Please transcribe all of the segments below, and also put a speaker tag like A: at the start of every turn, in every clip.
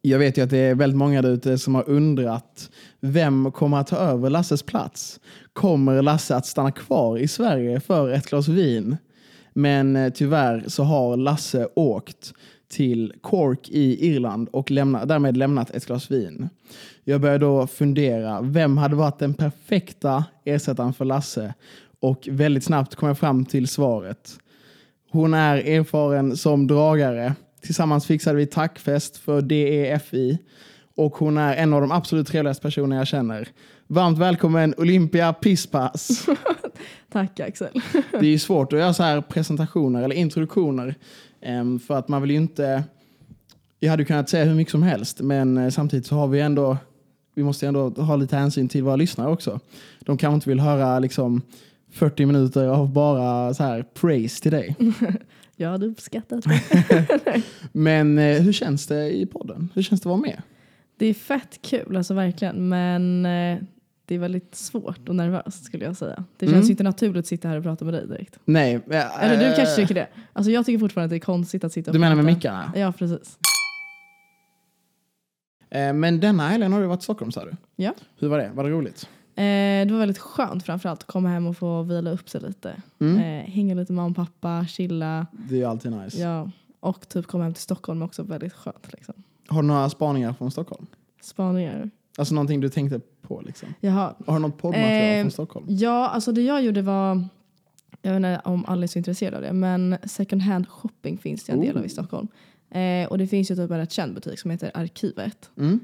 A: Jag vet ju att det är väldigt många där ute som har undrat vem kommer att ta över Lasses plats? Kommer Lasse att stanna kvar i Sverige för ett glas vin? Men eh, tyvärr så har Lasse åkt till Cork i Irland och lämna, därmed lämnat ett glas vin. Jag började då fundera, vem hade varit den perfekta ersättaren för Lasse? Och väldigt snabbt kom jag fram till svaret. Hon är erfaren som dragare. Tillsammans fixade vi tackfest för DEFI och hon är en av de absolut trevligaste personer jag känner. Varmt välkommen Olympia Pisspass.
B: Tack Axel.
A: Det är ju svårt att göra så här presentationer eller introduktioner em, för att man vill ju inte... Jag hade ju kunnat säga hur mycket som helst men eh, samtidigt så har vi ändå... Vi måste ju ändå ha lite hänsyn till våra lyssnare också. De kanske inte vill höra liksom 40 minuter av bara så här praise till dig.
B: Jag hade uppskattat
A: Men eh, hur känns det i podden? Hur känns det att vara med?
B: Det är fett kul, alltså verkligen. Men eh, det är väldigt svårt och nervöst skulle jag säga. Det känns
A: Mm.
B: ju inte naturligt att sitta här och prata med dig direkt.
A: Nej.
B: Eller du
A: eh,
B: kanske tycker det. Alltså jag tycker fortfarande att det är konstigt att sitta och
A: Du menar med
B: prata.
A: mickarna?
B: Ja, precis.
A: Eh, Men denna helgen har du varit i Stockholm sa du?
B: Ja.
A: Hur var det? Var det roligt?
B: Eh, det var väldigt skönt framförallt att komma hem och få vila upp sig lite.
A: Mm.
B: Eh, hänga lite med mamma och pappa, chilla.
A: Det är ju alltid nice.
B: Ja. Och typ komma hem till Stockholm också väldigt skönt. Liksom.
A: Har du några spaningar från Stockholm?
B: Spaningar.
A: Alltså någonting du tänkte på liksom?
B: Jaha,
A: Har du något poddmaterial
B: Eh,
A: från Stockholm?
B: Ja, alltså det jag gjorde var, jag vet inte om alla är så intresserade av det, men second hand shopping finns det en del av
A: Oh.
B: i Stockholm. Eh, och det finns ju typ en rätt känd butik som heter Arkivet.
A: Mm.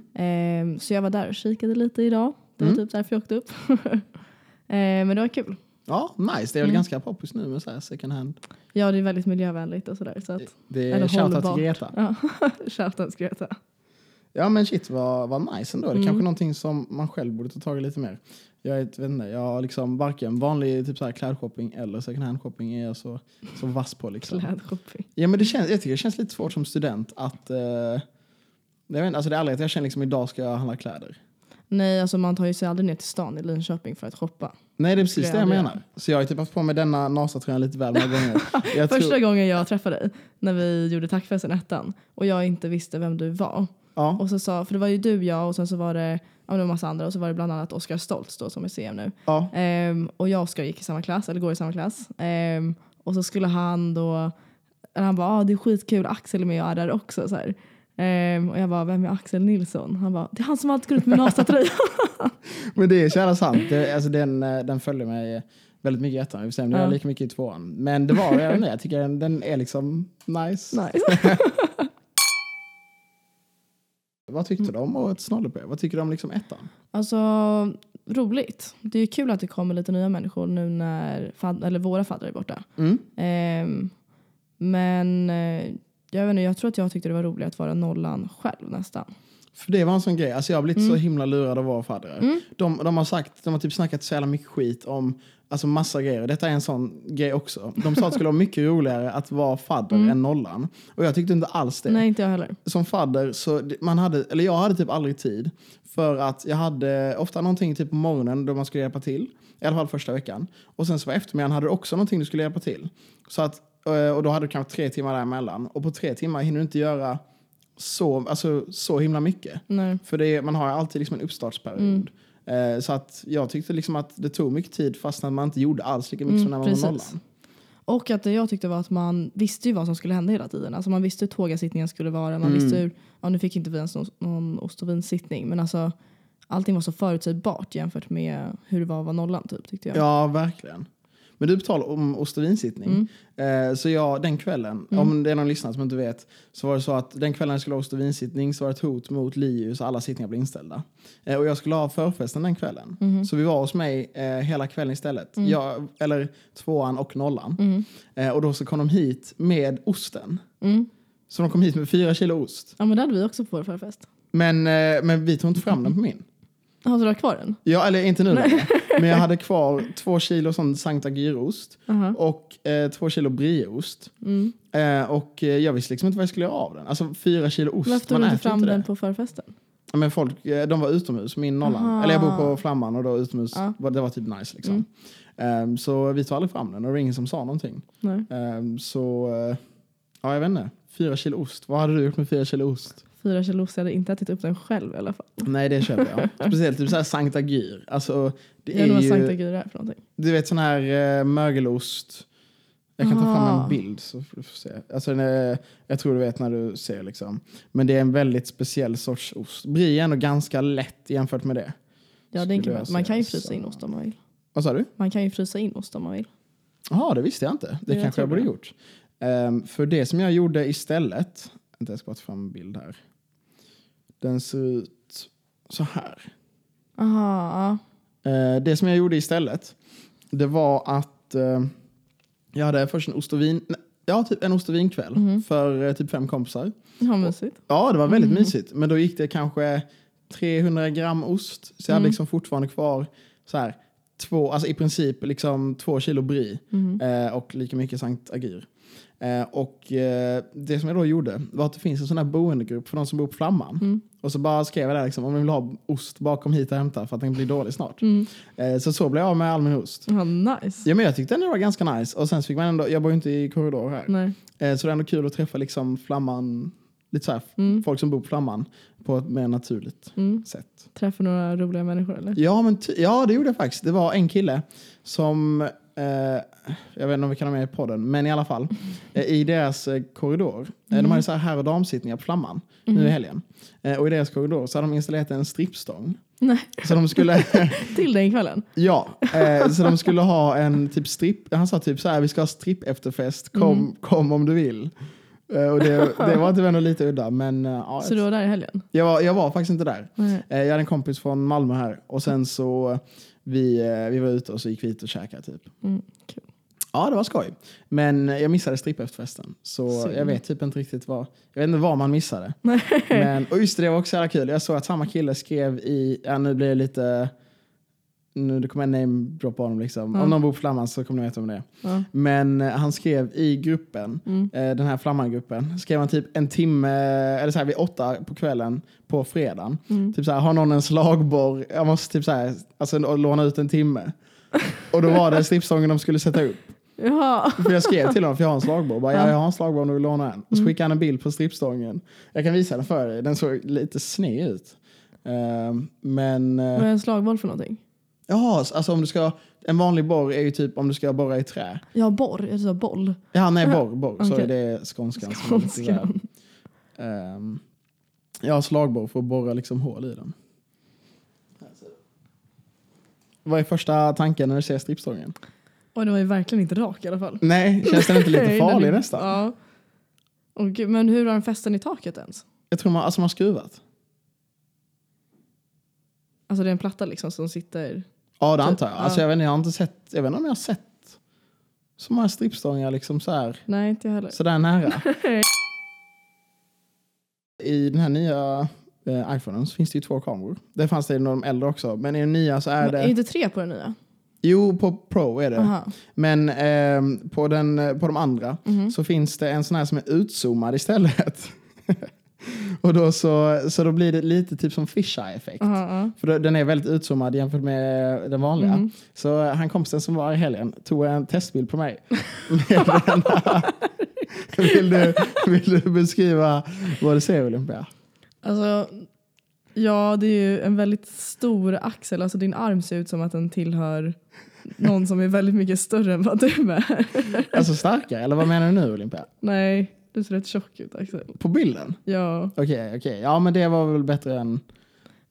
B: Eh, så jag var där och kikade lite idag. Det var
A: Mm.
B: typ därför jag åkte upp. eh, men det var kul.
A: Ja, nice. Det är väl
B: Mm.
A: ganska poppis nu med så här second hand.
B: Ja, det är väldigt miljövänligt och sådär. Så att,
A: Det är
B: Eller
A: shoutout
B: hållbart.
A: till Greta.
B: ja, shoutout Greta.
A: Ja men shit vad, vad nice ändå. Det är
B: Mm.
A: kanske någonting som man själv borde ta tag i lite mer. Jag är ett- vet inte, jag har liksom varken vanlig typ så här klädshopping eller second hand shopping är jag så, så vass på liksom.
B: Klädshopping.
A: Ja, men det känns, jag tycker det känns lite svårt som student att... Eh, jag vet, inte, alltså det är aldrig att jag känner liksom idag ska jag handla kläder.
B: Nej, alltså man tar ju sig aldrig ner till stan i Linköping för att shoppa.
A: Nej, det är precis det
B: Skulle
A: jag
B: jag aldrig
A: menar. Så jag har ju typ haft på mig denna NASA-tröjan lite väl många gånger. Jag
B: Första
A: tror,
B: gången jag träffade dig, när vi gjorde tackfesten i ettan och jag inte visste vem du var,
A: ja,
B: Och så sa, för det var ju du, jag och sen så var det, ja, det var massa andra och så var det bland annat Oskar Stoltz då som är CM nu.
A: ja,
B: Ehm, och jag och Oskar gick i samma klass, eller går i samma klass. Ehm, och så skulle han då, eller han bara ah, det är skitkul, Axel är med och är där också. Så här. Ehm, och jag bara vem är Axel Nilsson? Han bara det är han som alltid går ut med NASA-tröja.
A: men det är så jävla sant. Det, alltså den, eh, den följer mig väldigt mycket i ettan. Jag vill säga, nu är jag
B: Ja.
A: lika mycket i tvåan. Men det var, jag vet inte, jag tycker den, den är liksom nice.
B: nice.
A: Vad tyckte de om ett snollebröd? Vad tycker de om liksom ettan?
B: Alltså roligt. Det är ju kul att det kommer lite nya människor nu när fad, eller våra faddrar är borta.
A: Mm.
B: Ehm, men eh, jag, vet inte, jag tror att jag tyckte det var roligt att vara nollan själv nästan.
A: För det var en sån grej. Alltså jag har blivit så
B: Mm.
A: himla lurad av våra faddrar. De, de har sagt, de har typ snackat så jävla mycket skit om alltså massa grejer. Och Detta är en sån grej också. De sa att det skulle vara mycket roligare att vara fadder än nollan. Och jag tyckte inte alls det.
B: Mm. Nej, inte jag heller.
A: Som fadder så, det- man hade, eller jag hade typ aldrig tid. För att jag hade ofta någonting typ på morgonen då man skulle hjälpa till. I alla fall första veckan. Och sen så på eftermiddagen hade du också någonting du skulle hjälpa till. Så att, eh, och då hade du kanske tre timmar däremellan. Och på tre timmar hinner du inte göra så, alltså, så himla mycket.
B: Nej.
A: För det är, man har ju alltid liksom en uppstartsperiod.
B: Mm.
A: Eh, så att jag tyckte liksom att det tog mycket tid fast man inte gjorde alls lika mycket som när
B: Mm,
A: man var
B: precis.
A: nollan.
B: Och att det jag tyckte var att man visste ju vad som skulle hända hela tiden. Alltså man visste hur tågasittningen skulle vara. Man
A: Mm.
B: visste hur, ja nu fick inte vi ens någon, någon ost och vinsittning. Men alltså allting var så förutsägbart jämfört med hur det var att vara nollan typ tyckte jag.
A: Ja, verkligen. Men du betalar om ost och
B: Mm.
A: vinsittning. Eh, så jag, den kvällen, om det är någon lyssnare som inte vet, så var det så att den kvällen jag skulle ha ost och vinsittning så var det ett hot mot LiU så alla sittningar blev inställda. Eh, och jag skulle ha förfesten den kvällen.
B: Mm. mhm.
A: Så vi var hos mig eh, hela kvällen istället. Jag, eller tvåan och nollan. Eh, och då så kom de hit med osten.
B: Mm.
A: Så de kom hit med fyra kilo ost.
B: Ja men det hade vi också på vår förfest.
A: Men, eh, men vi tog inte fram den på min.
B: Jaha, så du har kvar den?
A: Ja, eller inte nu längre. Men jag hade kvar två kilo sån Sankta gyrost
B: Aha.
A: och eh, två kilo brieost.
B: Mm.
A: Eh, och eh, jag visste liksom inte vad jag skulle göra av den. Alltså fyra kilo ost.
B: Varför tog
A: man
B: du inte
A: äter
B: fram
A: inte det.
B: den på förfesten?
A: Ja, Men folk, eh, de var utomhus, min nollan.
B: Aha.
A: Eller jag bor på Flamman och då utomhus,
B: Ja. Mm.
A: var- det var typ nice liksom. Eh, så vi tog aldrig fram den och det var ingen som sa någonting. Ehm,
B: Nej.
A: Eh, så, eh, ja jag vet inte. Fyra kilo ost. Vad hade du gjort med fyra kilo ost?
B: fyra kilo ost. Jag hade inte ätit upp den själv i alla fall.
A: Nej, det köper jag. Speciellt typ så här Sankta Gyr. Alltså, det
B: Jag undrar
A: är
B: vad Sankta
A: ju,
B: Gyra är för någonting.
A: du vet sån här eh, mögelost. Jag kan ta fram en
B: Ah.
A: bild så får du få se. Alltså, den är, jag tror du vet när du ser liksom. Men det är en väldigt speciell sorts ost. Brie är ändå ganska lätt jämfört med det.
B: Ja,
A: Skulle
B: den kan man,
A: jag
B: man kan ju
A: säga
B: frysa in
A: så.
B: ost om man vill.
A: Vad sa du?
B: Man kan ju frysa in ost om man vill.
A: Ja, det visste jag inte. Det
B: Jag
A: kanske jag
B: tror
A: borde
B: det.
A: gjort. Ehm, för det som jag gjorde istället. Vänta, jag ska bara ta fram en bild här. Den ser ut så här.
B: Aha, ja.
A: Eh, det som jag gjorde istället, det var att eh, jag hade först en ost och vin, nej, ja, typ en ost och vinkväll för eh, typ fem kompisar.
B: ja mysigt.
A: Ja, det var väldigt mysigt. Men då gick det kanske 300 gram ost. Så jag hade liksom fortfarande kvar så här, två, alltså i princip liksom två kilo brie
B: Mm.
A: eh, och lika mycket Sankt Agyr. Eh, och eh, det som jag då gjorde var att det finns en sån här boendegrupp för de som bor på
B: Mm.
A: Flamman. Och så bara skrev jag där liksom, om ni vill ha ost bakom hit och hämta för att den blir dålig snart. Eh, så så blev jag av med all min ost.
B: Mm. Ja, nice.
A: Ja, men jag tyckte ändå det var ganska nice. Och sen så fick man ändå, jag bor ju inte i korridor här.
B: Nej.
A: Eh, Så det är ändå kul att träffa liksom flamman, lite så här, folk som bor på flamman på ett mer naturligt
B: Mm.
A: sätt.
B: Träffar några roliga människor eller?
A: Ja, men ty- ja, det gjorde jag faktiskt. Det var en kille som, eh, jag vet inte om vi kan ha med i podden, men i alla fall, eh, i deras eh, korridor, eh, de hade så här herr och damsittningar på flamman nu
B: Mm.
A: i helgen. Eh, och i deras korridor så hade de installerat en strippstång.
B: Nej.
A: Så de skulle,
B: Till den kvällen?
A: ja, eh, så de skulle ha en typ stripp, han sa typ så här, vi ska ha stripp efterfest, kom, kom om du vill. Eh, och det, det var typ ändå lite udda, men eh, ja,
B: Så du var där i helgen?
A: jag, var, jag var faktiskt inte där.
B: Nej.
A: Eh, Jag hade en kompis från Malmö här och sen så vi, eh, vi var ute och så gick vi hit och käkade typ.
B: Mm, kul.
A: Ja, det var skoj. Men jag missade stripp efter festen. Så
B: Synd.
A: jag vet typ inte riktigt vad, jag vet inte vad man missade.
B: Nej.
A: Men, och just det, det var också jävla kul. Jag såg att samma kille skrev i, ja nu blir det lite, nu det kommer en name drop på honom liksom.
B: Ja.
A: Om någon bor på Flamman så kommer ni veta om det.
B: Ja.
A: Men eh, han skrev i gruppen,
B: Mm.
A: eh, den här Flamman-gruppen, skrev han typ en timme, eller så här vid åtta på kvällen på fredagen.
B: Mm.
A: Typ så här, har någon en slagborr? Jag måste typ så här, alltså låna ut en timme. Och då var det slipsången de skulle sätta upp.
B: Jaha.
A: För jag skrev till honom, för jag har en slagborr. Bara, ja,
B: Ja. Mm.
A: jag har en slagborr om du vill låna en. Och så skickade han en bild på strippstången. Jag kan visa den för dig. Den såg lite sned ut. Ehm, men... eh,
B: Vad är en slagboll för någonting?
A: Jaha, alltså om du ska... En vanlig borr är ju typ om du ska borra i trä.
B: Ja, borr. Jag sa boll.
A: Ja, nej, borr. borr. Sorry,
B: Okej.
A: det är skånskan. som är lite
B: Skånskan.
A: där. Ehm, jag har slagborr för att borra liksom hål i den. Vad är första tanken när du ser strippstången?
B: Oj, den var ju verkligen inte rak i alla fall.
A: Nej, känns den inte lite
B: Nej, den
A: farlig
B: är-
A: nästan?
B: Ja. Åh, gud, men hur har den fästen i taket ens?
A: Jag tror man, alltså man har skruvat.
B: Alltså det är en platta liksom som sitter...
A: Ja, det
B: Typ,
A: antar jag. Alltså,
B: ja.
A: jag, vet, inte, jag, har inte sett, jag vet inte om jag har sett så många strippstångar liksom så här,
B: Nej, inte jag heller.
A: så där nära. I den här nya eh, iPhonen så finns det ju två kameror. Det fanns det i de äldre också, men i den nya så är
B: Men är det
A: det...
B: inte tre på den nya?
A: Jo, på Pro är det.
B: Aha.
A: Men ehm, på, den, eh, på de andra
B: Mhm.
A: så finns det en sån här som är utzoomad istället. Och då så, så då blir det lite typ som fisheye effekt
B: Aha, ja.
A: För då- den är väldigt utzoomad jämfört med eh, den vanliga.
B: Mhm.
A: Så eh, han kompisen som var i helgen tog en testbild på mig. Med den här. vill, du, vill du beskriva vad du ser Olympia?
B: Alltså, ja, det är ju en väldigt stor axel. Alltså din arm ser ut som att den tillhör någon som är väldigt mycket större än vad du är.
A: Alltså starkare, eller vad menar du nu Olympia?
B: Nej, du ser rätt tjock ut Axel.
A: På bilden?
B: Ja,
A: Okej, okej. Ja men det var väl bättre än...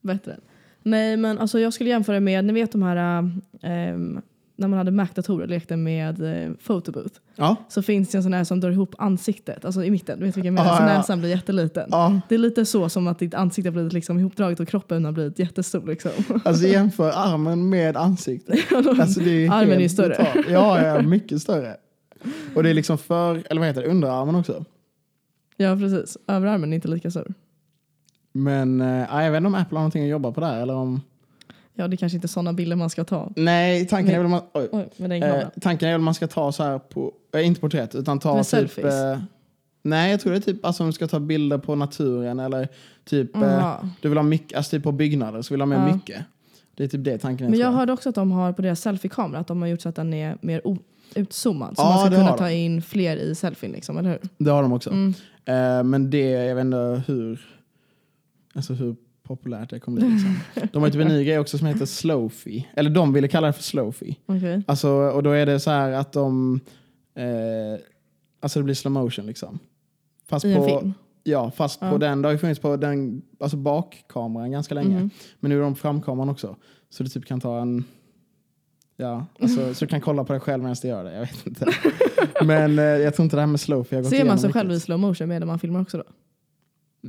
B: bättre. än. Nej, men alltså jag skulle jämföra med, ni vet de här, ehm, när man hade Mac-datorer och lekte med eh, photobooth.
A: Ja.
B: Så finns det en sån här som drar ihop ansiktet, alltså i mitten. Du vet vilken jag
A: Ah,
B: menar? Så
A: ja. Ah.
B: näsan blir jätteliten.
A: ja.
B: Det är lite så som att ditt ansikte har blivit liksom ihopdraget och kroppen har blivit jättestor. Liksom.
A: Alltså jämför armen med ansiktet. Alltså, det är
B: Armen är ju
A: helt
B: större.
A: brutalt. Ja, ja, mycket större. Och det är liksom för, eller vad heter det, underarmen också.
B: Ja, precis. Överarmen är inte lika stor.
A: Men eh, ja, jag vet inte om Apple har någonting att jobba på där eller om...
B: Ja, det är kanske inte är sådana bilder man ska ta.
A: Nej, tanken är väl om man... Oj.
B: Oj, med den
A: Eh,
B: kameran.
A: tanken är väl om man ska ta så här på, eh, inte porträtt, utan ta
B: Med
A: typ...
B: selfies.
A: Eh, nej, jag tror det är typ alltså, om du ska ta bilder på naturen eller typ... Eh,
B: Jaha.
A: du vill ha mycket, alltså typ på byggnader så vill du ha med
B: Ja.
A: mycket. Det är typ det tanken är.
B: Men jag
A: tror
B: hörde också att de har på deras selfiekamera att de har gjort så att den är mer o- utzoomad. Så
A: Ja,
B: man ska
A: Ah, det har
B: kunna
A: de.
B: ta in fler i selfien, liksom, eller hur?
A: Det har de också.
B: Mm.
A: Eh, men det, jag vet inte hur Alltså hur populärt det kommer bli. Liksom. De har typ en ny grej också som heter Slowfi. Eller de ville kalla det för Slowfi.
B: Okej.
A: Alltså, och då är det så här att de... Eh, alltså det blir slow motion liksom. Fast
B: I en
A: på,
B: film?
A: Ja, fast på
B: Ja.
A: den. Det har ju funnits på den, alltså bakkameran ganska länge.
B: Mhm.
A: Men nu är de framkameran också. Så du typ kan ta en... Ja,
B: Mm.
A: alltså, så du kan kolla på dig själv medan du gör det. Jag vet inte. Men eh, jag tror inte det här med slow, för jag har gått
B: Ser man sig
A: igenom
B: själv i
A: riktigt.
B: slow motion medan man filmar också då?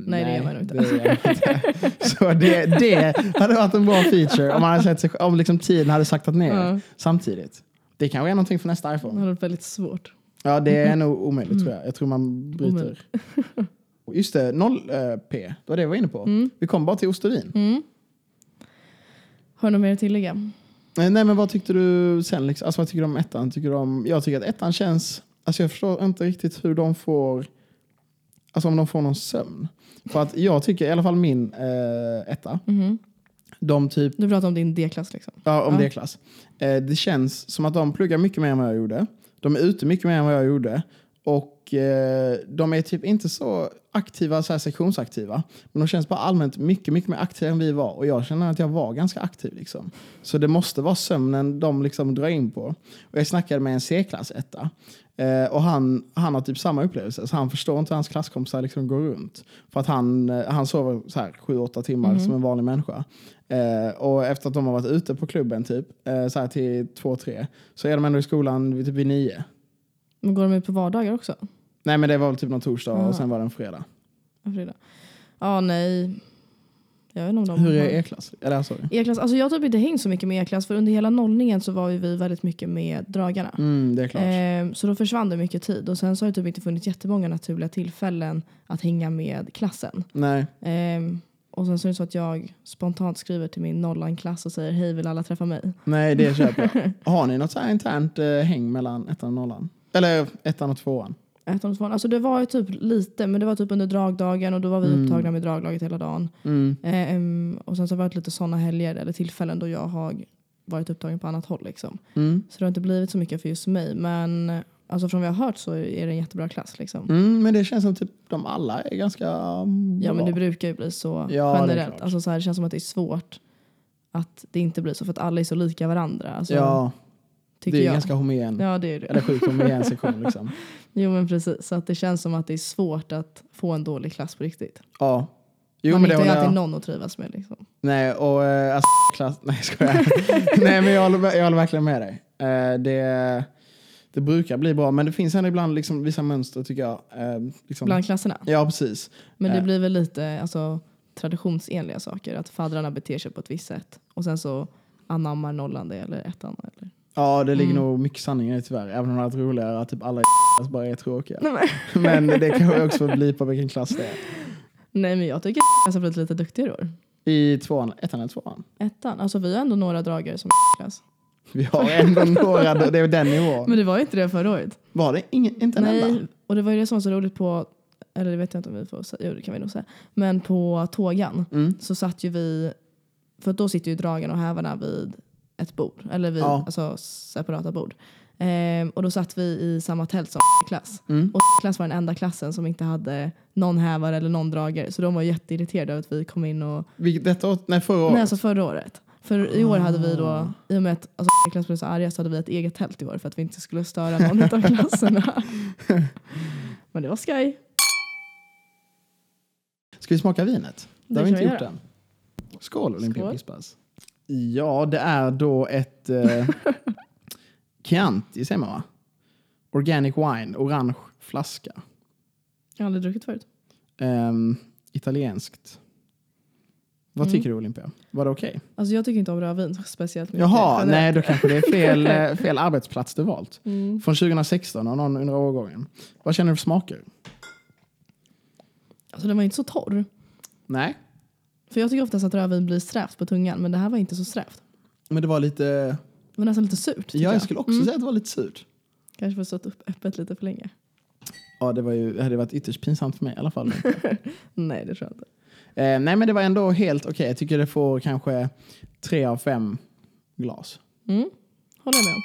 B: Nej, det gör man nog inte.
A: det gör man inte. Så det, det hade varit en bra feature om, man hade sett sig, om liksom tiden hade saktat ner
B: Ja.
A: samtidigt. Det kanske är någonting för nästa
B: Det
A: iPhone.
B: hade varit väldigt svårt.
A: Ja, det är nog omöjligt tror jag. Jag tror man bryter.
B: Mhm. Omöjligt.
A: Och Just det, 0p. Det var det vi var inne på.
B: Mm.
A: Vi kom bara till ost och vin.
B: Mm. Har du något mer att tillägga?
A: Eh, Nej, men vad tyckte du sen? Liksom? Alltså, vad tycker du om ettan? Tycker du om... Jag tycker att ettan känns... Alltså, jag förstår inte riktigt hur de får... Alltså om de får någon sömn. För att jag tycker, i alla fall min eh, etta,
B: Mhm.
A: de typ
B: Du pratar om din D-klass liksom.
A: Ja, om
B: Ja.
A: D-klass. Eh, det känns som att de pluggar mycket mer än vad jag gjorde. De är ute mycket mer än vad jag gjorde. Och eh, de är typ inte så aktiva, så här sektionsaktiva. Men de känns bara allmänt mycket, mycket mer aktiva än vi var. Och jag känner att jag var ganska aktiv liksom. Så det måste vara sömnen de liksom drar in på. Och jag snackade med en C-klass etta. Eh, och han, han har typ samma upplevelse. Så han förstår inte hur hans klasskompisar liksom går runt. För att han, eh, han sover så här 7-8 timmar som en vanlig människa. Eh, och efter att de har varit ute på klubben typ, eh, så här till 2-3, så är de ändå i skolan vid, typ vid 9.
B: Men går de ut på vardagar också?
A: Nej men det var väl typ någon torsdag
B: Ja.
A: och sen var det en fredag.
B: Ja, fredag. Ja, nej. Jag vet inte om de
A: Hur är
B: har-
A: er klass? Eller ja, sorry.
B: E-klass? Alltså jag har typ inte hängt så mycket med E-klass för under hela nollningen så var ju vi väldigt mycket med dragarna.
A: Mm, det är klart.
B: Ehm, så då försvann det mycket tid och sen så har det typ inte funnits jättemånga naturliga tillfällen att hänga med klassen.
A: Nej.
B: Ehm, och sen så är det så att jag spontant skriver till min nollan-klass och säger hej vill alla träffa mig?
A: Nej, det köper jag. Har ni något så här internt eh, häng mellan ettan och nollan? Eller ettan och tvåan?
B: Ett av de svåra- Alltså det var ju typ lite men det var typ under dragdagen och då var vi upptagna med draglaget hela dagen.
A: Mm.
B: Ehm, och sen så har det varit lite sådana helger eller tillfällen då jag har varit upptagen på annat håll liksom.
A: Mm.
B: Så det har inte blivit så mycket för just mig. Men alltså från vad jag har hört så är det en jättebra klass. Liksom.
A: Mm, men det känns som typ de alla är ganska mm,
B: Ja men det
A: bra.
B: brukar ju bli så
A: Ja, det är
B: generellt.
A: klart.
B: alltså, så här, det känns som att det är svårt att det inte blir så för att alla är så lika varandra. Alltså,
A: ja, det
B: tycker
A: är
B: jag.
A: ganska homogen.
B: Ja det är det.
A: Eller sjukt homogen sektion liksom.
B: Jo men precis. Så att det känns som att det är svårt att få en dålig klass på riktigt.
A: Ja. Jo,
B: Man
A: men det
B: hittar ju
A: håller
B: alltid
A: jag.
B: någon att trivas med. Liksom.
A: Nej, och eh, alltså, klass... Nej, ska jag Nej, men jag håller, jag håller verkligen med dig. Eh, det, det brukar bli bra, men det finns ändå ibland liksom, vissa mönster tycker jag. Eh, liksom.
B: Bland klasserna.
A: Ja, precis.
B: Men det
A: Eh.
B: blir väl lite alltså, traditionsenliga saker. Att faddrarna beter sig på ett visst sätt. Och sen så anammar nollan det eller ettan. Eller.
A: Ja, det ligger
B: Mm.
A: nog mycket sanning i det tyvärr. Även om det hade varit roligare att typ alla bara är tråkiga.
B: Nej, men.
A: Men det kan jag också bli på vilken klass det är.
B: Nej men jag tycker att har blivit lite duktigare i år.
A: I tvåan, ettan eller tvåan?
B: Ettan. Alltså vi har ändå några dragare som klass.
A: Vi har ändå några, det är den nivån.
B: Men det var ju inte det förra året.
A: Var det ingen, inte en enda?
B: Nej, och det var ju det som var så roligt på, eller det vet jag inte om vi får säga, jo det kan vi nog säga. Men på tågan
A: Mm.
B: så satt ju vi, för att då sitter ju dragarna och hävarna vid ett bord. Eller vid
A: Ja.
B: alltså, separata bord. Ehm, och då satt vi i samma tält som klass.
A: Mm.
B: Och klass var den enda klassen som inte hade någon hävare eller någon dragare. Så de var jätteirriterade över att vi kom in och
A: Vilket, detta året? Nej, förra året.
B: Nej, alltså förra året. För i år hade vi
A: Ah.
B: då, i och med att alltså, Niklas blev så arga så hade vi ett eget tält i år för att vi inte skulle störa någon av klasserna. Men det var skoj.
A: Ska vi smaka vinet? Det,
B: Det
A: har vi
B: kan
A: inte
B: vi
A: gjort
B: göra.
A: än. Skål Olympia
B: Skål.
A: Pispas. Ja, det är då ett eh, Chianti säger man va? Organic wine, orange flaska.
B: Jag har aldrig druckit förut.
A: Ehm, italienskt. Vad
B: Mm.
A: tycker du Olympia? Var det okej?
B: Alltså jag tycker inte om rödvin speciellt mycket.
A: Jaha,
B: generellt.
A: nej då kanske det är fel, eh, fel arbetsplats du valt.
B: Mm.
A: Från 2016 av någon under årgången. Vad känner du för smaker?
B: Alltså den var inte så torr.
A: Nej,
B: För jag tycker oftast att rödvin blir strävt på tungan men det här var inte så strävt.
A: men det var lite...
B: Det var nästan lite surt. tycker
A: Ja, jag
B: jag. Mm.
A: skulle också säga att det var lite surt.
B: Kanske för att stått upp öppet lite för länge.
A: Ja, det, var ju, det hade varit ytterst pinsamt för mig i alla fall.
B: Nej det tror jag inte.
A: Eh, nej, men det var ändå helt okej. Jag tycker det får kanske tre av fem glas.
B: Mm. Håller jag med om.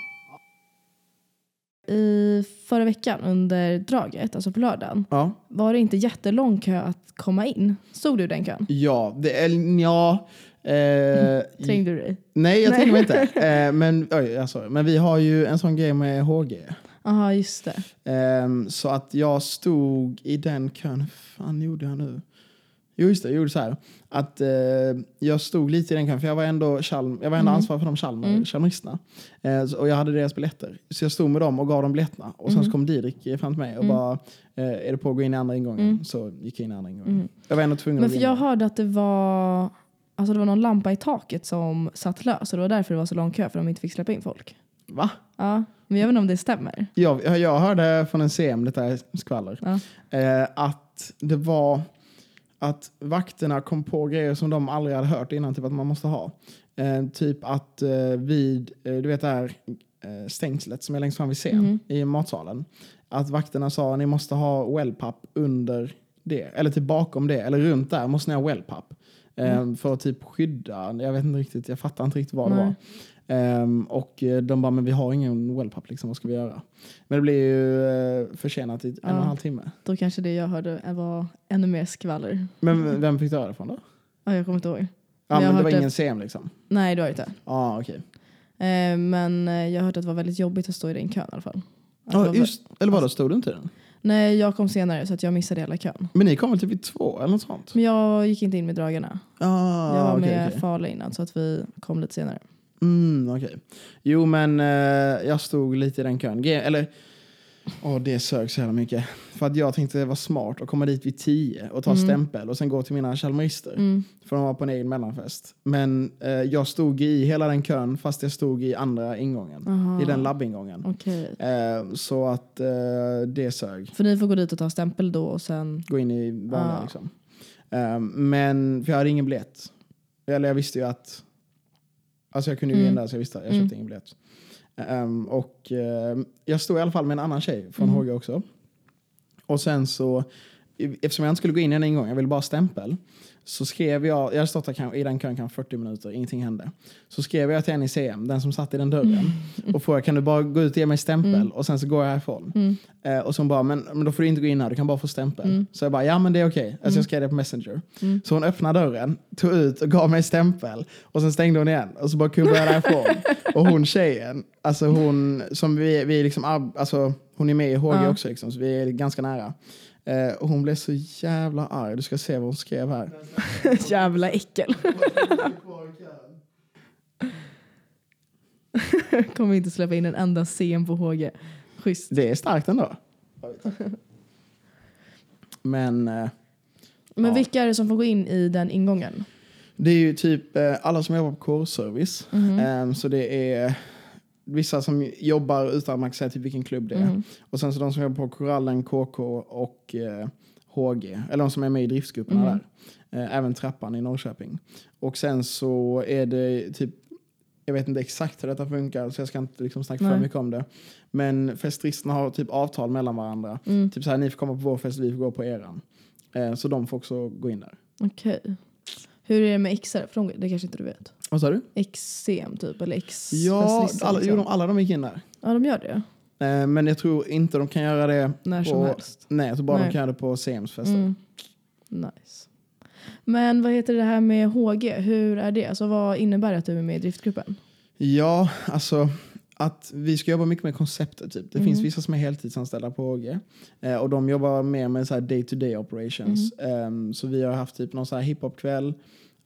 B: I förra veckan under draget, alltså på lördagen,
A: Ja.
B: var det inte jättelång kö att komma in. Stod du i den kön?
A: Ja, det är... Ja, eh,
B: Trängde du dig?
A: nej, jag
B: Nej.
A: tänker mig inte. Eh, men, oj, alltså, men vi har ju en sån grej med HG.
B: Jaha, just det.
A: Ehm, så att jag stod i den kön. Hur fan gjorde jag nu? Jo, just det. Jag gjorde så här. Att, eh, jag stod lite i den kön, för jag var ändå, Chalm, jag var
B: Mm.
A: ändå ansvarig för de Chalmer, Chalmeristerna. Eh, så- och jag hade deras biljetter. Så jag stod med dem och gav dem biljetterna. Och
B: Mm.
A: sen så kom Didrik fram till mig och bara, eh, är det på att gå in i andra ingången? Så gick jag in i andra ingången. Jag var ändå tvungen
B: Mm. Men
A: att gå in.
B: för jag
A: där.
B: hörde att det var, alltså det var någon lampa i taket som satt lös och det var därför det var så lång kö för de inte fick släppa in folk.
A: Va?
B: Ja, men jag vet inte om det stämmer.
A: Jag, jag hörde från en CM, detta är skvaller,
B: Ja.
A: eh, att det var att vakterna kom på grejer som de aldrig hade hört innan, typ att man måste ha. Eh, typ att eh, vid, eh, du vet det här eh, stängslet som är längst fram vid scen
B: Mhm.
A: i matsalen, att vakterna sa ni måste ha wellpapp under det, eller typ bakom det, eller runt där måste ni ha wellpapp. Eh, För att typ skydda, jag vet inte riktigt, jag fattar inte riktigt vad det
B: Mm. Nej.
A: var. Ehm, och eh, de bara, men vi har ingen wellpapp, liksom, vad ska vi göra? Men det blev ju uh, försenat i en och en
B: Ja.
A: halv timme.
B: Då kanske det jag hörde var ännu mer skvaller.
A: Men vem fick du höra det från då?
B: Ja, jag kommer inte ihåg.
A: Ja, men
B: Jag har
A: det
B: hört
A: var
B: det-
A: ingen CM liksom?
B: Nej, det var det inte.
A: Ja, ah, okej.
B: Eh, men eh, jag hörde att det var väldigt jobbigt att stå i den kön i alla fall. Att det
A: Ja,
B: var-
A: just, eller vadå, stod du inte i den?
B: Nej, jag kom senare så att jag missade hela kön.
A: Men ni kom väl typ vid två eller något sånt?
B: Men jag gick inte in med dragarna.
A: Ah,
B: jag var
A: okej,
B: med
A: okej.
B: Fale innan så att vi kom lite senare.
A: Mm, okej. Jo, men eh, jag stod lite i den kön. Ge- Eller, åh det sög så jävla mycket. För att jag tänkte vara smart och komma dit vid tio och ta stämpel och sen gå till mina chalmerister.
B: Mm,
A: För de var på en egen mellanfest. Men eh, jag stod i hela den kön fast jag stod i andra ingången.
B: Aha.
A: I den labbingången.
B: Okej.
A: Eh, så att eh, det sög.
B: För ni får gå dit och ta stämpel då och sen...
A: Gå in i vanliga
B: Ah.
A: liksom. Eh, men, för jag hade ingen biljett. Eller jag visste ju att... Alltså jag kunde ju mm.
B: Mm.
A: där så jag visste. Jag köpte ingen biljett. Ehm, och eh, jag stod i alla fall med en annan tjej från HG också. Och sen så, i- eftersom jag inte skulle gå in i den en gång, jag ville bara ha stämpel. Så skrev jag, jag hade stått där kan- i den kön kanske 40 minuter, ingenting hände. Så skrev jag till henne i CM, den som satt i den dörren. Och frågade, kan du bara gå ut och ge mig stämpel? Och sen så går jag härifrån.
B: Mm.
A: Eh, och så hon bara, men, men då får du inte gå in här, du kan bara få stämpel. Så jag bara, ja men det är okej. Alltså jag skrev det på Messenger. Så hon öppnade dörren, tog ut och gav mig stämpel. Och sen stängde hon igen. Och så bara kubbade jag därifrån. och hon tjejen, alltså hon som vi, vi liksom, ab- alltså hon är med i HG
B: Ja.
A: också liksom, så vi är ganska nära. Eh, och hon blev så jävla arg, du ska se vad hon skrev här.
B: Jävla äckel. Kommer inte släppa in en enda scen på HG. Schysst.
A: Det är starkt ändå. Men eh,
B: Men
A: Ja.
B: vilka är det som får gå in i den ingången?
A: det är ju typ eh, alla som jobbar på kårservice.
B: Mm-hmm.
A: Eh, så det är vissa som jobbar utan att man kan säga typ vilken klubb det är.
B: Mm-hmm.
A: Och sen så de som jobbar på Korallen, KK och eh, HG. Eller de som är med i driftsgrupperna där. Eh, även Trappan i Norrköping. Och sen så är det typ jag vet inte exakt hur detta funkar så jag ska inte liksom snacka för
B: Nej.
A: mycket om det. Men festristerna har typ avtal mellan varandra.
B: Mm.
A: Typ så här, ni får komma på vår fest, vi får gå på eran. Eh, så de får också gå in där.
B: Okej. Hur är det med XR? För de, det kanske inte du vet.
A: Vad sa du?
B: XCM typ eller X
A: Ja,
B: festlistan,
A: alla, jo,
B: liksom.
A: de, alla de gick in där.
B: ja, de gör det.
A: Eh, men jag tror inte de kan göra det
B: När
A: på,
B: som helst.
A: Nej, jag tror bara de
B: Nej.
A: kan göra det på CMs fester.
B: Mm. Nice. Men vad heter det här med HG? Hur är det? Alltså, vad innebär det att du är med i driftgruppen?
A: Ja, alltså att vi ska jobba mycket med konceptet. Typ. Det
B: Mm.
A: finns vissa som är heltidsanställda på HG eh, och de jobbar mer med så här day-to-day operations.
B: Mm.
A: Ehm, så vi har haft typ någon så här hiphopkväll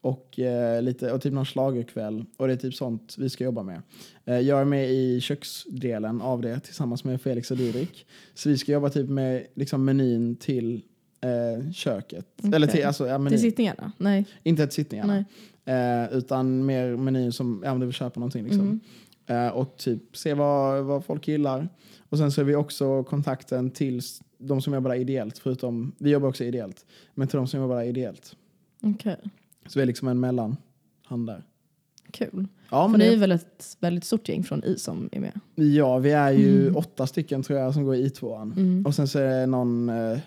A: och, eh, lite, och typ någon schlagerkväll och det är typ sånt vi ska jobba med. Eh, jag är med i köksdelen av det tillsammans med Felix och Didrik. Så vi ska jobba typ med liksom, menyn till eh, köket. Eller till,
B: Okej.
A: alltså, ja, menyn.
B: Till sittningarna? Nej.
A: Inte ett sittningarna.
B: Nej.
A: Eh, utan mer menyn som, ja men du vill köpa någonting
B: Mm.
A: liksom. Eh, och typ se vad, vad folk gillar. Och sen så är vi också kontakten till s- de som jobbar där ideellt, förutom, vi jobbar också ideellt, men till de som jobbar där ideellt.
B: Okej.
A: Så vi är liksom en mellanhand där.
B: Kul.
A: Ja,
B: För
A: men
B: ni är
A: det,
B: väl ett väldigt stort gäng från I som är med?
A: ja, vi är ju åtta stycken tror jag som går i tvåan.
B: Mm.
A: Och sen så är det någon eh,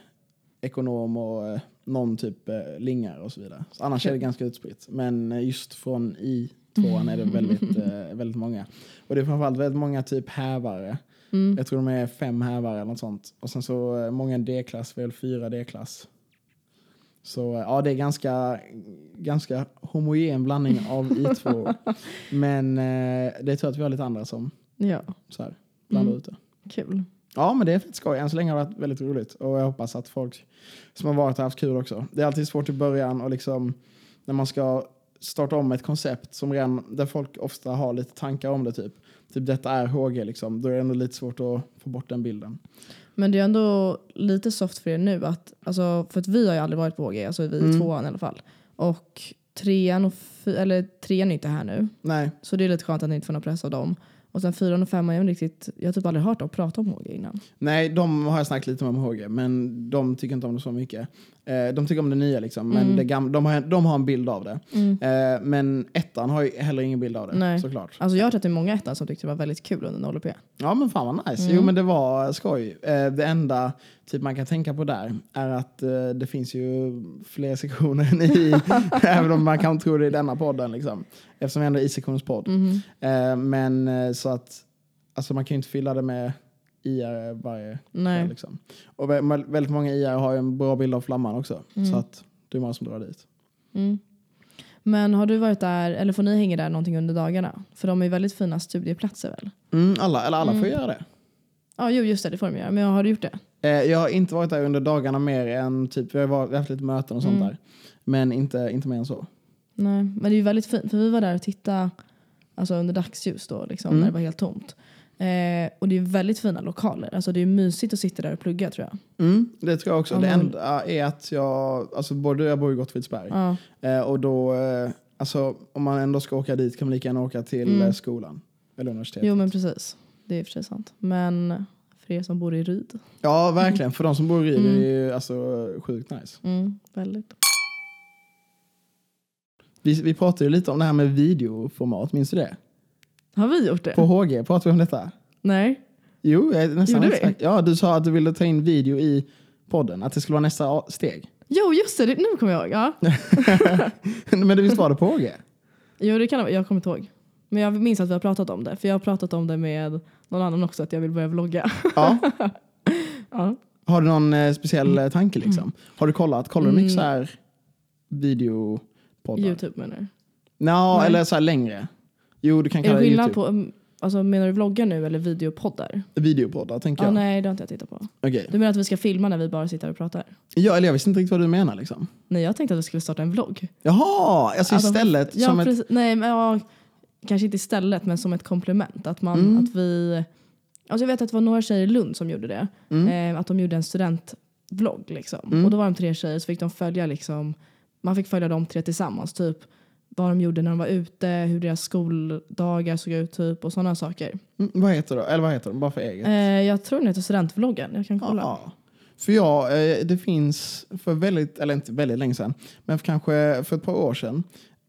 A: ekonom och eh, någon typ eh, lingar och så vidare. Så annars är det ganska utspritt. Men eh, just från i tvåan är det väldigt, eh, väldigt många. Och det är framförallt väldigt många typ hävare
B: Mm.
A: Jag tror de är fem hävar eller något sånt. Och sen så eh, många D-klass, väl fyra D-klass. Så eh, ja, det är ganska, ganska homogen blandning av i två. Men eh, det är tur att vi har lite andra som
B: Ja,
A: så här, blandar
B: Mm.
A: ut det.
B: kul.
A: Ja, men det är fett skoj. Än så länge har det varit väldigt roligt. Och jag hoppas att folk som har varit har haft kul också. Det är alltid svårt i början och liksom när man ska starta om ett koncept som redan, där folk ofta har lite tankar om det. Typ Typ detta är HG, liksom. då är det ändå lite svårt att få bort den bilden.
B: Men det är ändå lite soft för er nu. Att, alltså, för att vi har ju aldrig varit på HG, alltså vi i
A: Mm.
B: tvåan i alla fall. Och trean och fy- eller trean är inte här nu.
A: Nej,
B: Så det är lite skönt att ni inte får någon press av dem. Och sen fyran och femman, jag, har riktigt, jag har typ aldrig hört dem prata om HG innan.
A: nej, de har jag snackat lite om HG, men de tycker inte om det så mycket. Eh, de tycker om det nya, liksom, men
B: Mm.
A: det gamla, de, har, de har en bild av det.
B: Mm.
A: Eh, men ettan har ju heller ingen bild av det,
B: Nej.
A: såklart.
B: Alltså jag har hört att det är många i ettan som tyckte det var väldigt kul under NLP.
A: Ja men fan vad nice.
B: Mm.
A: Jo men det var skoj. Eh, Det enda typ man kan tänka på där är att eh, det finns ju fler sektioner än i, även om man kan tro det i denna podden liksom. Eftersom vi ändå är i sektionspodd.
B: Mhm.
A: Eh, Men eh, så att, alltså man kan ju inte fylla det med IR varje kväll
B: Nej.
A: liksom. Och vä- ma- väldigt många IR har ju en bra bild av flamman också.
B: Mm.
A: Så att det är många som drar dit.
B: Mm. Men har du varit där, eller får ni hänga där någonting under dagarna? För de är ju väldigt fina studieplatser väl?
A: Mm, alla, eller alla
B: Mm.
A: får göra det.
B: Ja, jo just det, det får de göra. Men har du gjort det?
A: Eh, Jag har inte varit där under dagarna mer än typ, vi har varit- vi har haft lite möten och sånt
B: Mm.
A: där. Men inte, inte mer än så.
B: Nej, men det är ju väldigt fint. För vi var där och tittade alltså under dagsljus då, liksom,
A: Mm.
B: när det var helt tomt. Eh, och det är väldigt fina lokaler. Alltså det är mysigt att sitta där och plugga tror jag.
A: Mm, det tror jag också.
B: Ja,
A: Det
B: men-
A: enda är att jag, alltså både jag bor i Gottfridsberg
B: Ja.
A: eh, och då, eh, alltså om man ändå ska åka dit kan man lika gärna åka till
B: Mm.
A: eh, skolan eller universitetet.
B: Jo men precis. Det är i och för sig sant. Men för er som bor i Ryd.
A: Ja, verkligen. För de som bor i Ryd är
B: Mm.
A: det ju alltså sjukt nice.
B: Mm, väldigt.
A: Vi, vi pratade ju lite om det här med videoformat, minns du det?
B: Har vi gjort det?
A: På HG pratade vi om detta.
B: Nej.
A: Jo, jag är nästan
B: Gjorde
A: helt
B: vi?
A: säker. Ja, du sa att du ville ta in video i podden, att det skulle vara nästa a- steg.
B: Jo just det, det- nu kommer jag ihåg. Ja.
A: Men det visst var det på HG?
B: Jo, det kan det vara. Jag kommer inte ihåg. Men jag minns att vi har pratat om det. För jag har pratat om det med någon annan också, att jag vill börja vlogga.
A: Ja.
B: Ja.
A: Har du någon eh, speciell
B: Mm.
A: eh, tanke liksom? Har du kollat? Kollar du mycket så här videopoddar?
B: Youtube menar du?
A: Nå,
B: Nej.
A: eller så här längre. Jo, du kan
B: Är
A: kalla
B: det
A: det
B: skillnad
A: Youtube.
B: på, um, alltså menar du vloggar nu eller videopoddar?
A: Videopoddar tänker
B: Ja,
A: jag.
B: nej, det har inte jag tittat på.
A: Okej.
B: Du menar att vi ska filma när vi bara sitter och pratar?
A: Ja, eller jag visste inte riktigt vad du menar liksom.
B: Nej, jag tänkte att vi skulle starta en vlogg.
A: Jaha, alltså
B: Alltså,
A: istället
B: Ja,
A: som ett...
B: precis. Nej, men, ja, kanske inte istället, men som ett komplement. Att, man,
A: Mm.
B: att vi... Alltså jag vet att det var några tjejer i Lund som gjorde det.
A: Mm.
B: Eh, att de gjorde en studentvlogg. Liksom.
A: Mm.
B: Och då var de tre tjejer så fick de följa liksom, man fick följa de tre tillsammans. Typ vad de gjorde när de var ute, hur deras skoldagar såg ut typ, och sådana saker.
A: Mm, vad heter det? Eller vad heter de? Bara för eget.
B: Eh, jag tror den heter studentvloggen, jag kan kolla.
A: Ja. För jag, eh, det finns för väldigt, eller inte väldigt länge sedan, men för kanske för ett par år sedan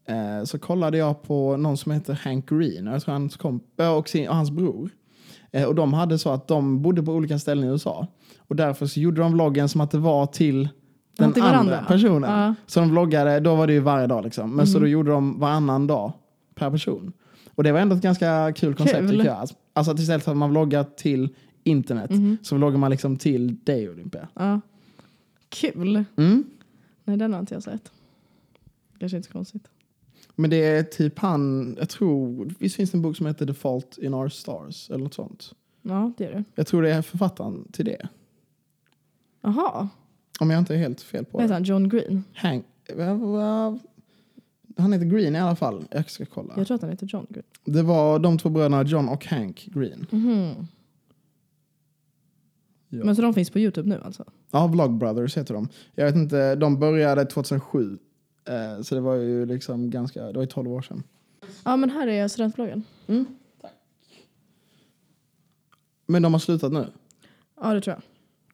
A: eh, så kollade jag på någon som heter Hank Green och jag tror hans komp- eh, och, sin, och hans bror. Eh, Och de hade så att de bodde på olika ställen i USA. Och därför så gjorde de vloggen som att det var till
B: Ja,
A: den
B: till varandra.
A: andra personen.
B: Ja. Mm.
A: Så de vloggade, då var det ju varje dag liksom. Men så då gjorde de varannan dag per person. Och det var ändå ett ganska kul koncept
B: Kul.
A: tycker jag. Alltså- Alltså att istället för att man vloggar till internet så vloggar man liksom till dig Olympia.
B: Mhm. Ja. Kul!
A: Mm.
B: Nej, den har inte jag sett. Kanske inte så konstigt.
A: Men det är typ han, jag tror, visst finns det en bok som heter The Fault in Our Stars eller något sånt.
B: Ja, det är det.
A: Jag tror det är författaren till det.
B: Jaha,
A: Om jag inte är helt fel på
B: vad heter
A: det.
B: han? John Green?
A: Hank, va- va- han heter Green i alla fall. Jag ska kolla.
B: Jag tror att han heter John Green.
A: Det var de två bröderna John och Hank Green.
B: Mhm.
A: Ja.
B: Men så de finns på Youtube nu alltså?
A: Ja, Vlog Brothers heter de. Jag vet inte, de började 2007. Eh, så det var ju liksom ganska, det var ju 12 år sedan.
B: Ja, men här är studentvloggen.
A: Men de har slutat nu.
B: Ja, det tror jag.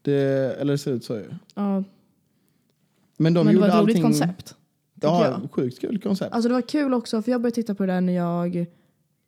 A: Det, eller det ser ut så ju.
B: Ja.
A: Men de
B: men det var
A: gjorde
B: ett
A: allting...
B: roligt koncept.
A: Ja,
B: tycker
A: sjukt kul koncept.
B: Alltså det var kul också, för jag började titta på det där när jag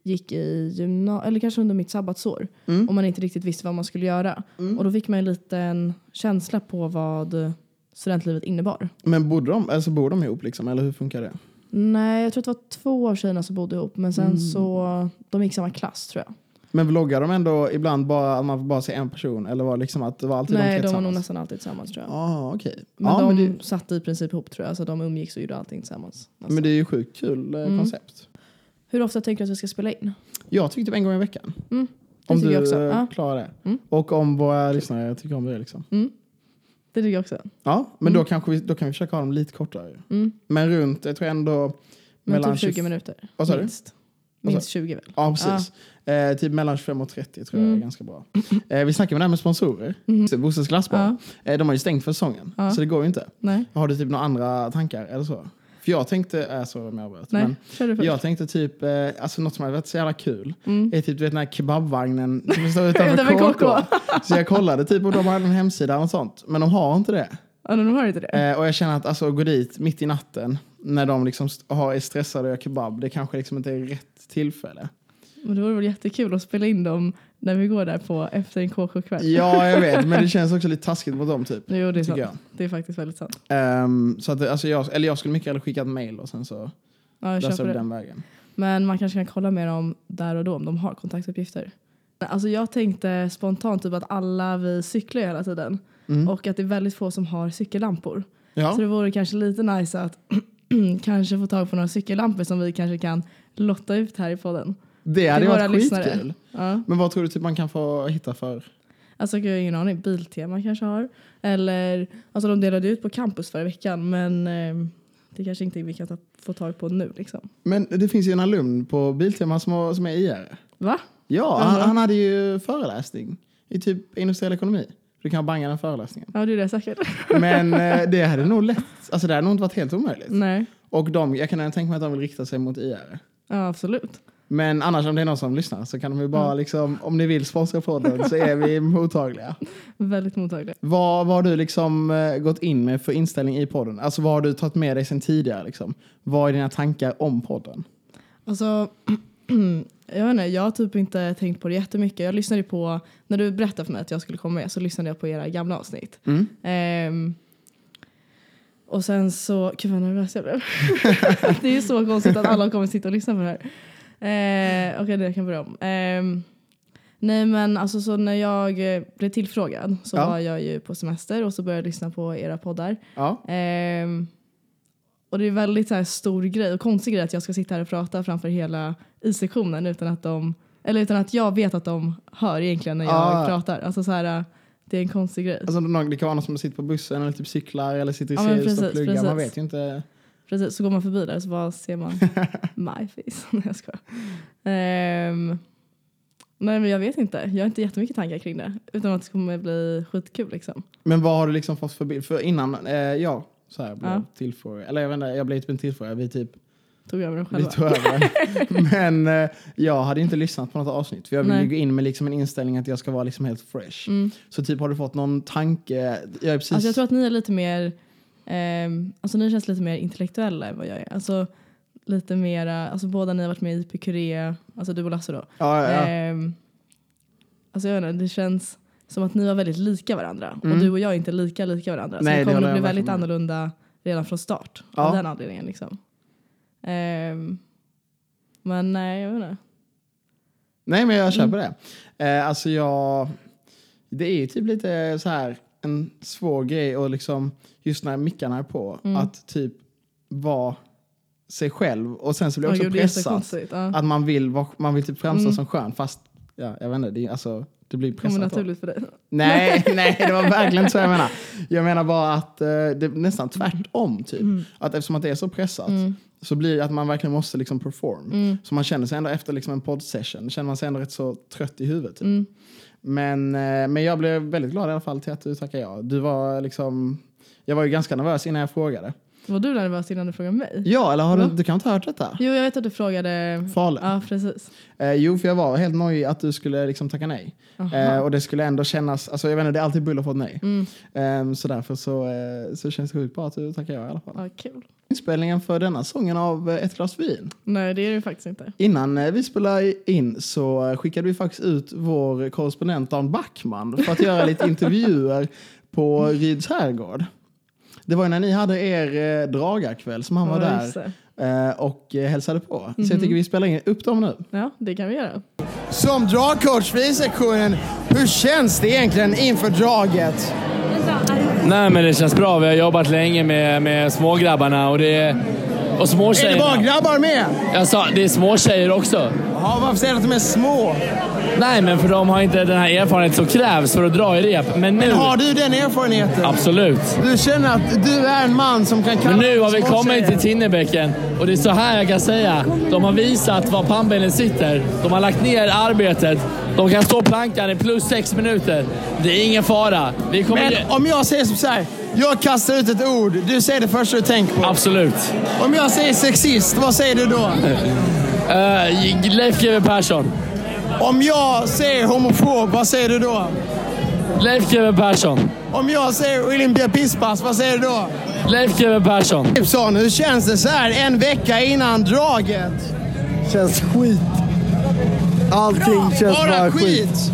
B: gick i gymnasiet, eller kanske under mitt sabbatsår,
A: Mm.
B: och man inte riktigt visste vad man skulle göra.
A: Mm.
B: Och då fick man en liten känsla på vad studentlivet innebar.
A: Men bodde de, alltså bor de ihop liksom, eller hur funkar det?
B: Nej, jag tror att det var två av tjejerna som bodde ihop, men sen
A: Mm.
B: så, de gick i samma klass tror jag.
A: Men vloggar de ändå ibland bara att man får bara se en person? Eller var det liksom att det var alltid
B: Nej,
A: de tre
B: de var nog
A: tillsammans?
B: nästan alltid tillsammans tror jag.
A: ah, okej.
B: Men
A: Ja, men,
B: de
A: det,
B: satt i princip ihop tror jag, så de umgicks och gjorde allting tillsammans. nästan.
A: men det är ju sjukt kul eh,
B: Mm.
A: koncept.
B: Hur ofta tänker du att vi ska spela in?
A: Jag tycker typ en gång i veckan.
B: Mm, det
A: Om
B: tycker
A: du
B: jag också.
A: eh,
B: Ja.
A: klarar det.
B: Mm.
A: Och om våra lyssnare tycker om det. Liksom.
B: Mm. Det tycker jag också.
A: Ja, men då,
B: Mm.
A: kanske vi, då kan vi försöka ha dem lite kortare.
B: Mm.
A: Men runt, jag tror ändå...
B: Men
A: Mellan
B: typ 20
A: tjugo-
B: minuter.
A: Vad sa du?
B: minst. Minst 20 väl?
A: Ja, precis. Eh, typ mellan 25 och 30 tror jag
B: Mm.
A: är ganska bra. Eh, vi snackade med det här med sponsorer. Mm. Bosses glassbar.
B: Ja.
A: Eh, de har ju stängt för säsongen,
B: Ja.
A: så det går ju inte.
B: Nej,
A: Har du typ några andra tankar eller så? För jag tänkte, äh, sorry om jag avbröt.
B: nej.
A: Men
B: kör du först.
A: jag tänkte typ, eh, alltså något som hade varit så jävla kul
B: Mm.
A: är typ du vet, den här kebabvagnen som står utanför
B: Utanför
A: KK.
B: KK.
A: Så jag kollade typ om de hade en hemsida eller något sånt. Men de har inte det.
B: Ja, de har inte det.
A: Eh, och jag känner att alltså, att gå dit mitt i natten när de liksom st- har, är stressade och gör kebab, det kanske liksom inte är rätt tillfälle.
B: Men det vore väl jättekul att spela in dem när vi går där på efter en KK-kväll.
A: Ja, jag vet, men det känns också lite taskigt mot dem typ.
B: Jo, det är sant.
A: Tycker jag.
B: Det är faktiskt väldigt sant.
A: Ehm, så att, det- alltså, jag, eller jag skulle mycket hellre skicka ett mail och sen så
B: Ja, jag
A: lösa
B: köper
A: det
B: det.
A: den vägen.
B: Men man kanske kan kolla med dem där och då om de har kontaktuppgifter. Alltså jag tänkte spontant typ att alla vi cyklar ju hela tiden
A: Mm.
B: och att det är väldigt få som har cykellampor.
A: Ja.
B: Så det vore kanske lite nice att kanske få tag på några cykellampor som vi kanske kan lotta ut här i podden.
A: Det hade
B: till
A: ju
B: våra
A: varit
B: lyssnare.
A: skitkul.
B: Ja.
A: Men vad tror du typ man kan få hitta för?
B: Alltså jag har ingen aning, Biltema kanske har. Eller, alltså de delade ut på campus förra veckan men eh, det är kanske inte vi kan ta, få tag på nu liksom.
A: Men det finns ju en alumn på Biltema som, har- som är IR.
B: Va?
A: Ja, han,
B: Mhm.
A: han hade ju föreläsning i typ industriell ekonomi. Du kan banga den föreläsningen.
B: Ja det är det säkert.
A: Men eh, det hade nog lätt, alltså det hade nog inte varit helt omöjligt.
B: Nej,
A: Och de, jag kan även tänka mig att de vill rikta sig mot IR.
B: ja absolut.
A: Men annars om det är någon som lyssnar så kan de ju bara
B: Mm.
A: liksom, om ni vill sponsra podden så är vi mottagliga.
B: Väldigt mottaglig.
A: Vad, vad har du liksom eh, gått in med för inställning i podden? Alltså vad har du tagit med dig sen tidigare? Liksom? Vad är dina tankar om podden?
B: Alltså, jag vet inte, jag har typ inte tänkt på det jättemycket. Jag lyssnade ju på, när du berättade för mig att jag skulle komma med så lyssnade jag på era gamla avsnitt.
A: Mm.
B: Ehm, och sen så, gud vad nervös jag blev. det är ju så konstigt att alla kommer sitta och lyssna på det här. Eh, Okej, det jag kan börja om. Ehm, nej men alltså så när jag eh, blev tillfrågad så
A: Ja.
B: var jag ju på semester och så började jag lyssna på era poddar.
A: Ja.
B: Ehm, och det är väldigt så här, stor grej och konstig grej att jag ska sitta här och prata framför hela I-sektionen utan att de eller utan att jag vet att de hör egentligen när jag
A: Ah.
B: pratar. Alltså så här, eh, det är en konstig grej.
A: Alltså, någon- det kan vara någon som sitter på bussen eller typ cyklar eller sitter i
B: Ja, men
A: Sirius och
B: precis,
A: pluggar. Man
B: precis.
A: vet ju inte.
B: Precis, så går man förbi där så bara ser man my face. Nej jag skojar. Ehm, nej men jag vet inte. Jag har inte jättemycket tankar kring det. Utan att det kommer bli skitkul liksom.
A: Men vad har du liksom fått för bild? För innan, eh, ja, så här blev
B: Ja.
A: tillfrågad. Eller jag vet inte, jag blev typ inte tillfrågad. Vi typ,
B: Tog över den
A: vi
B: själva.
A: tog över. Men eh, jag hade ju inte lyssnat på något avsnitt. För jag vill ju
B: Nej.
A: gå in med liksom en inställning att jag ska vara liksom helt fresh.
B: Mm.
A: Så typ har du fått någon tanke? Jag är precis...
B: Alltså jag tror att ni är lite mer, ehm, alltså ni känns lite mer intellektuella än vad jag är. Alltså lite mera, alltså båda ni har varit med i Ipikurea, alltså du och Lasse då.
A: ja, ja, ja.
B: Ehm, alltså jag vet inte, det känns som att ni var väldigt lika varandra
A: Mm.
B: och du och jag är inte lika lika varandra.
A: Nej, det
B: så det
A: håller
B: kommer
A: jag
B: att bli
A: verkligen
B: väldigt
A: med om.
B: annorlunda redan från start
A: Ja.
B: av den anledningen. Liksom. Ehm, men nej, jag vet inte.
A: Nej, men
B: Mm.
A: jag köper det. Eh, alltså jag... Det är ju typ lite så här en svår grej och liksom just när mickarna är på
B: Mm.
A: att typ vara sig själv och sen så blir jag
B: Åh,
A: också
B: gud, det är
A: pressad. Alltså,
B: jättekonstigt. Ja.
A: Att man vill, vara- man vill typ framstå
B: Mm.
A: som skön fast ja, jag vet inte, det, är, alltså, det blir
B: Det kommer
A: pressat. då.
B: naturligt för dig.
A: Nej, nej, det var verkligen inte så jag menar. Jag menar bara att eh, det är nästan tvärtom typ. alltså.
B: Mm.
A: Att eftersom att det är så pressat
B: Mm.
A: så blir det att man verkligen måste liksom perform.
B: Mm.
A: Så man känner sig ändå efter liksom en poddsession, känner man sig ändå rätt så trött i huvudet. Typ.
B: Mm.
A: Men, eh, men jag blev väldigt glad i alla fall till att du tackade ja. Du var liksom, jag var ju ganska nervös innan jag frågade. Mm.
B: Var du nervös innan du frågade mig?
A: Ja, eller har du,
B: Va?
A: du kan inte ha hört detta?
B: Jo, jag vet att du frågade.
A: Falun.
B: Ja, precis.
A: Eh, jo, för jag var helt nojig att du skulle liksom tacka nej.
B: Aha.
A: Eh, och det skulle ändå kännas, alltså jag vet inte, det är alltid bull att få ett nej.
B: Mm.
A: Eh, så därför så, eh, så känns det sjukt bra att du tackar ja i alla fall.
B: Ja, kul.
A: Inspelningen för denna sången av eh, Ett glas vin
B: Nej, det är det faktiskt inte.
A: Innan eh, vi spelade in så eh, skickade vi faktiskt ut vår korrespondent Dan Backman för att göra lite intervjuer på Ryds herrgård. Det var ju när ni hade er eh, dragarkväll som han var
B: Ja,
A: där.
B: just det. Mhm.
A: eh, och eh, hälsade på. Så jag tycker vi spelar in upp dem nu.
B: Ja, det kan vi göra.
A: Som dragcoach vid sektionen, hur känns det egentligen inför draget?
C: Nej, men det känns bra. Vi har jobbat länge med, med smågrabbarna och det... Och
A: Är det bara
C: småtjejerna.
A: grabbar med?
C: Jag sa, det är småtjejer också.
A: Ja, varför säger du att de är små?
C: Nej, men för de har inte den här erfarenheten som krävs för att dra i rep. Men nu...
A: Har du den erfarenheten?
C: Absolut.
A: Du känner att du är en man som kan kalla
C: Men nu har vi kommit till
A: småtjejer.
C: Tinnebäcken och det är så här jag kan säga. De har visat var pannbenen sitter. De har lagt ner arbetet. De kan stå plankan i plus sex minuter. Det är ingen fara. Vi kommer...
A: Men
C: ge-
A: om jag säger som så här, jag kastar ut ett ord, du säger det första du tänker på.
C: Absolut.
A: Om jag säger sexist, vad säger du då?
C: Uh, Leif GW Persson.
A: Om jag säger homofob, vad säger du då?
C: Leif GW Persson.
A: Om jag säger Olympia Pisspass, vad säger du då?
C: Leif GW Persson.
A: Gibson, hur känns det så här en vecka innan draget?
D: Känns skit. Allting känns bara,
A: Bara
D: skit.
A: skit!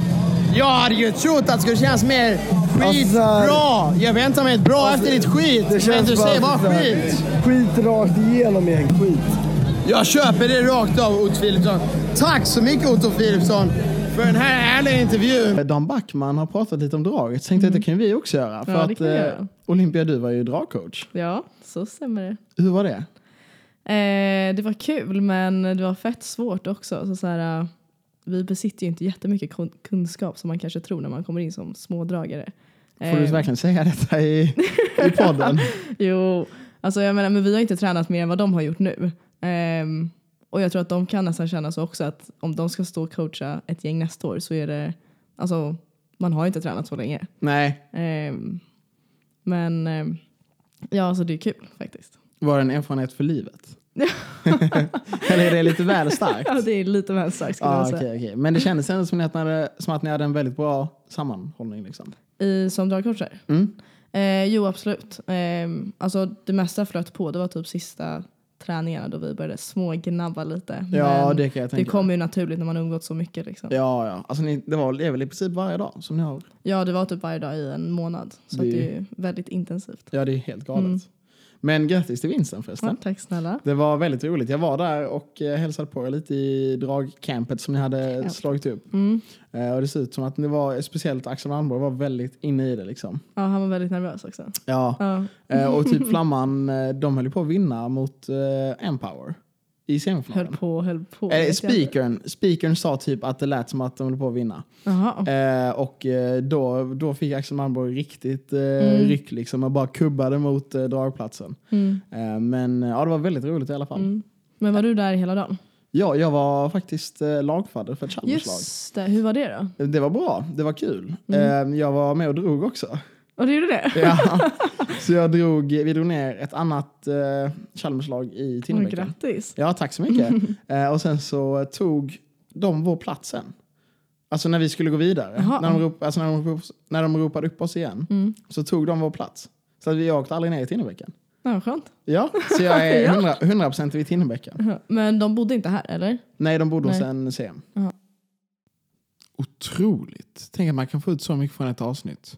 A: Jag hade ju trott att det skulle kännas mer skitbra.
D: Alltså-
A: Jag väntar mig ett bra efter ditt skit,
D: Det
A: men
D: känns
A: du
D: bara,
A: säger bara
D: så här,
A: skit.
D: Skit rakt igenom igen. Skit.
A: Jag köper det rakt av Otto Philipsson. Tack så mycket Otto Philipsson för den här härliga intervjun. Eh, Dan Backman har pratat lite om draget, så tänkte jag att det kan vi också göra. För
B: Ja, det
A: att
B: kan vi
A: eh,
B: göra.
A: Olympia, du var ju dragcoach.
B: Ja, så stämmer det.
A: Hur var det?
B: Eh, det var kul men det var fett svårt också. Så så här, eh, vi besitter ju inte jättemycket kun- kunskap som man kanske tror när man kommer in som smådragare.
A: Får du
B: Eh,
A: verkligen säga detta i, i podden?
B: Jo, alltså jag menar, men vi har inte tränat mer än vad de har gjort nu. Ehm, och jag tror att de kan nästan känna så också att om de ska stå och coacha ett gäng nästa år så är det, alltså man har ju inte tränat så länge.
A: Nej.
B: Ehm, men ehm, ja, alltså det är kul faktiskt.
A: Var det en erfarenhet för livet? Eller är det lite väl starkt?
B: Ja, det är lite väl starkt skulle jag
A: Ah,
B: säga.
A: okay, okay. Men det kändes ändå som, ni att ni hade, som att ni hade en väldigt bra sammanhållning. Liksom.
B: I, som dragcoacher?
A: Mm.
B: Eh, jo, absolut. Ehm, alltså det mesta flöt på. Det var typ sista träningarna då vi började smågnabba lite.
A: Ja,
B: Men
A: det kan jag
B: det
A: tänka
B: kommer ju naturligt när man umgåtts så mycket. Liksom.
A: Ja, ja. Alltså, ni, det, var, det är väl i princip varje dag som ni har?
B: Ja, det var typ varje dag i en månad. Så
A: Det-
B: det, att det är ju väldigt intensivt.
A: Ja, det är helt galet. Men grattis till vinsten förresten.
B: Mm. Ja, tack snälla.
A: Det var väldigt roligt. Jag var där och eh, hälsade på er lite i dragcampet som ni hade slagit upp.
B: Mm.
A: Eh, Och det ser ut som att ni var, speciellt Axel Malmborg var väldigt inne i det. Liksom.
B: Ja, han var väldigt nervös också.
A: Ja.
B: Ja,
A: Eh, Och typ Flamman, eh, de höll ju på att vinna mot eh, Empower i
B: höll
A: semifinalen.
B: på, höll på.
A: Eh,
B: vet jag inte.
A: speakern, speakern sa typ att det lät som att de höll på att vinna.
B: Jaha.
A: Eh, och eh, då, då fick Axel Malmborg riktigt eh,
B: Mm.
A: ryck liksom och bara kubbade mot eh, dragplatsen. Eh, men eh, ja, det var väldigt roligt i alla
B: Mm.
A: fall.
B: Men var du där hela dagen?
A: Ja, jag var faktiskt eh, lagfadder för ett Chalmers lag. Eh,
B: Just det, hur var det då?
A: Det var bra, det var kul. Eh, jag var med och drog också.
B: Och du gjorde det?
A: Ja. Så jag drog, vi drog ner ett annat eh, Chalmerslag i
B: Oj,
A: Tinnebäcken.
B: grattis.
A: Ja, tack så mycket. eh, och sen så tog de vår plats sen. Alltså när vi skulle gå vidare.
B: Jaha.
A: När de, rop, alltså när, de rop, när de ropade upp oss igen
B: Mm.
A: så tog de vår plats. Så att vi åkte aldrig ner i Tinnebäcken.
B: Ja, skönt.
A: Ja, så jag är 100, 100% vid Tinnebäcken.
B: Ja, Men de bodde inte här, eller?
A: Nej, de bodde hos
B: Nej.
A: en CM.
B: Jaha.
A: Otroligt. Tänk att man kan få ut så mycket från ett avsnitt.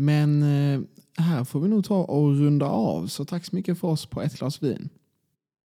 A: Men eh, här får vi nog ta och runda av. Så tack så mycket för oss på ett glas vin.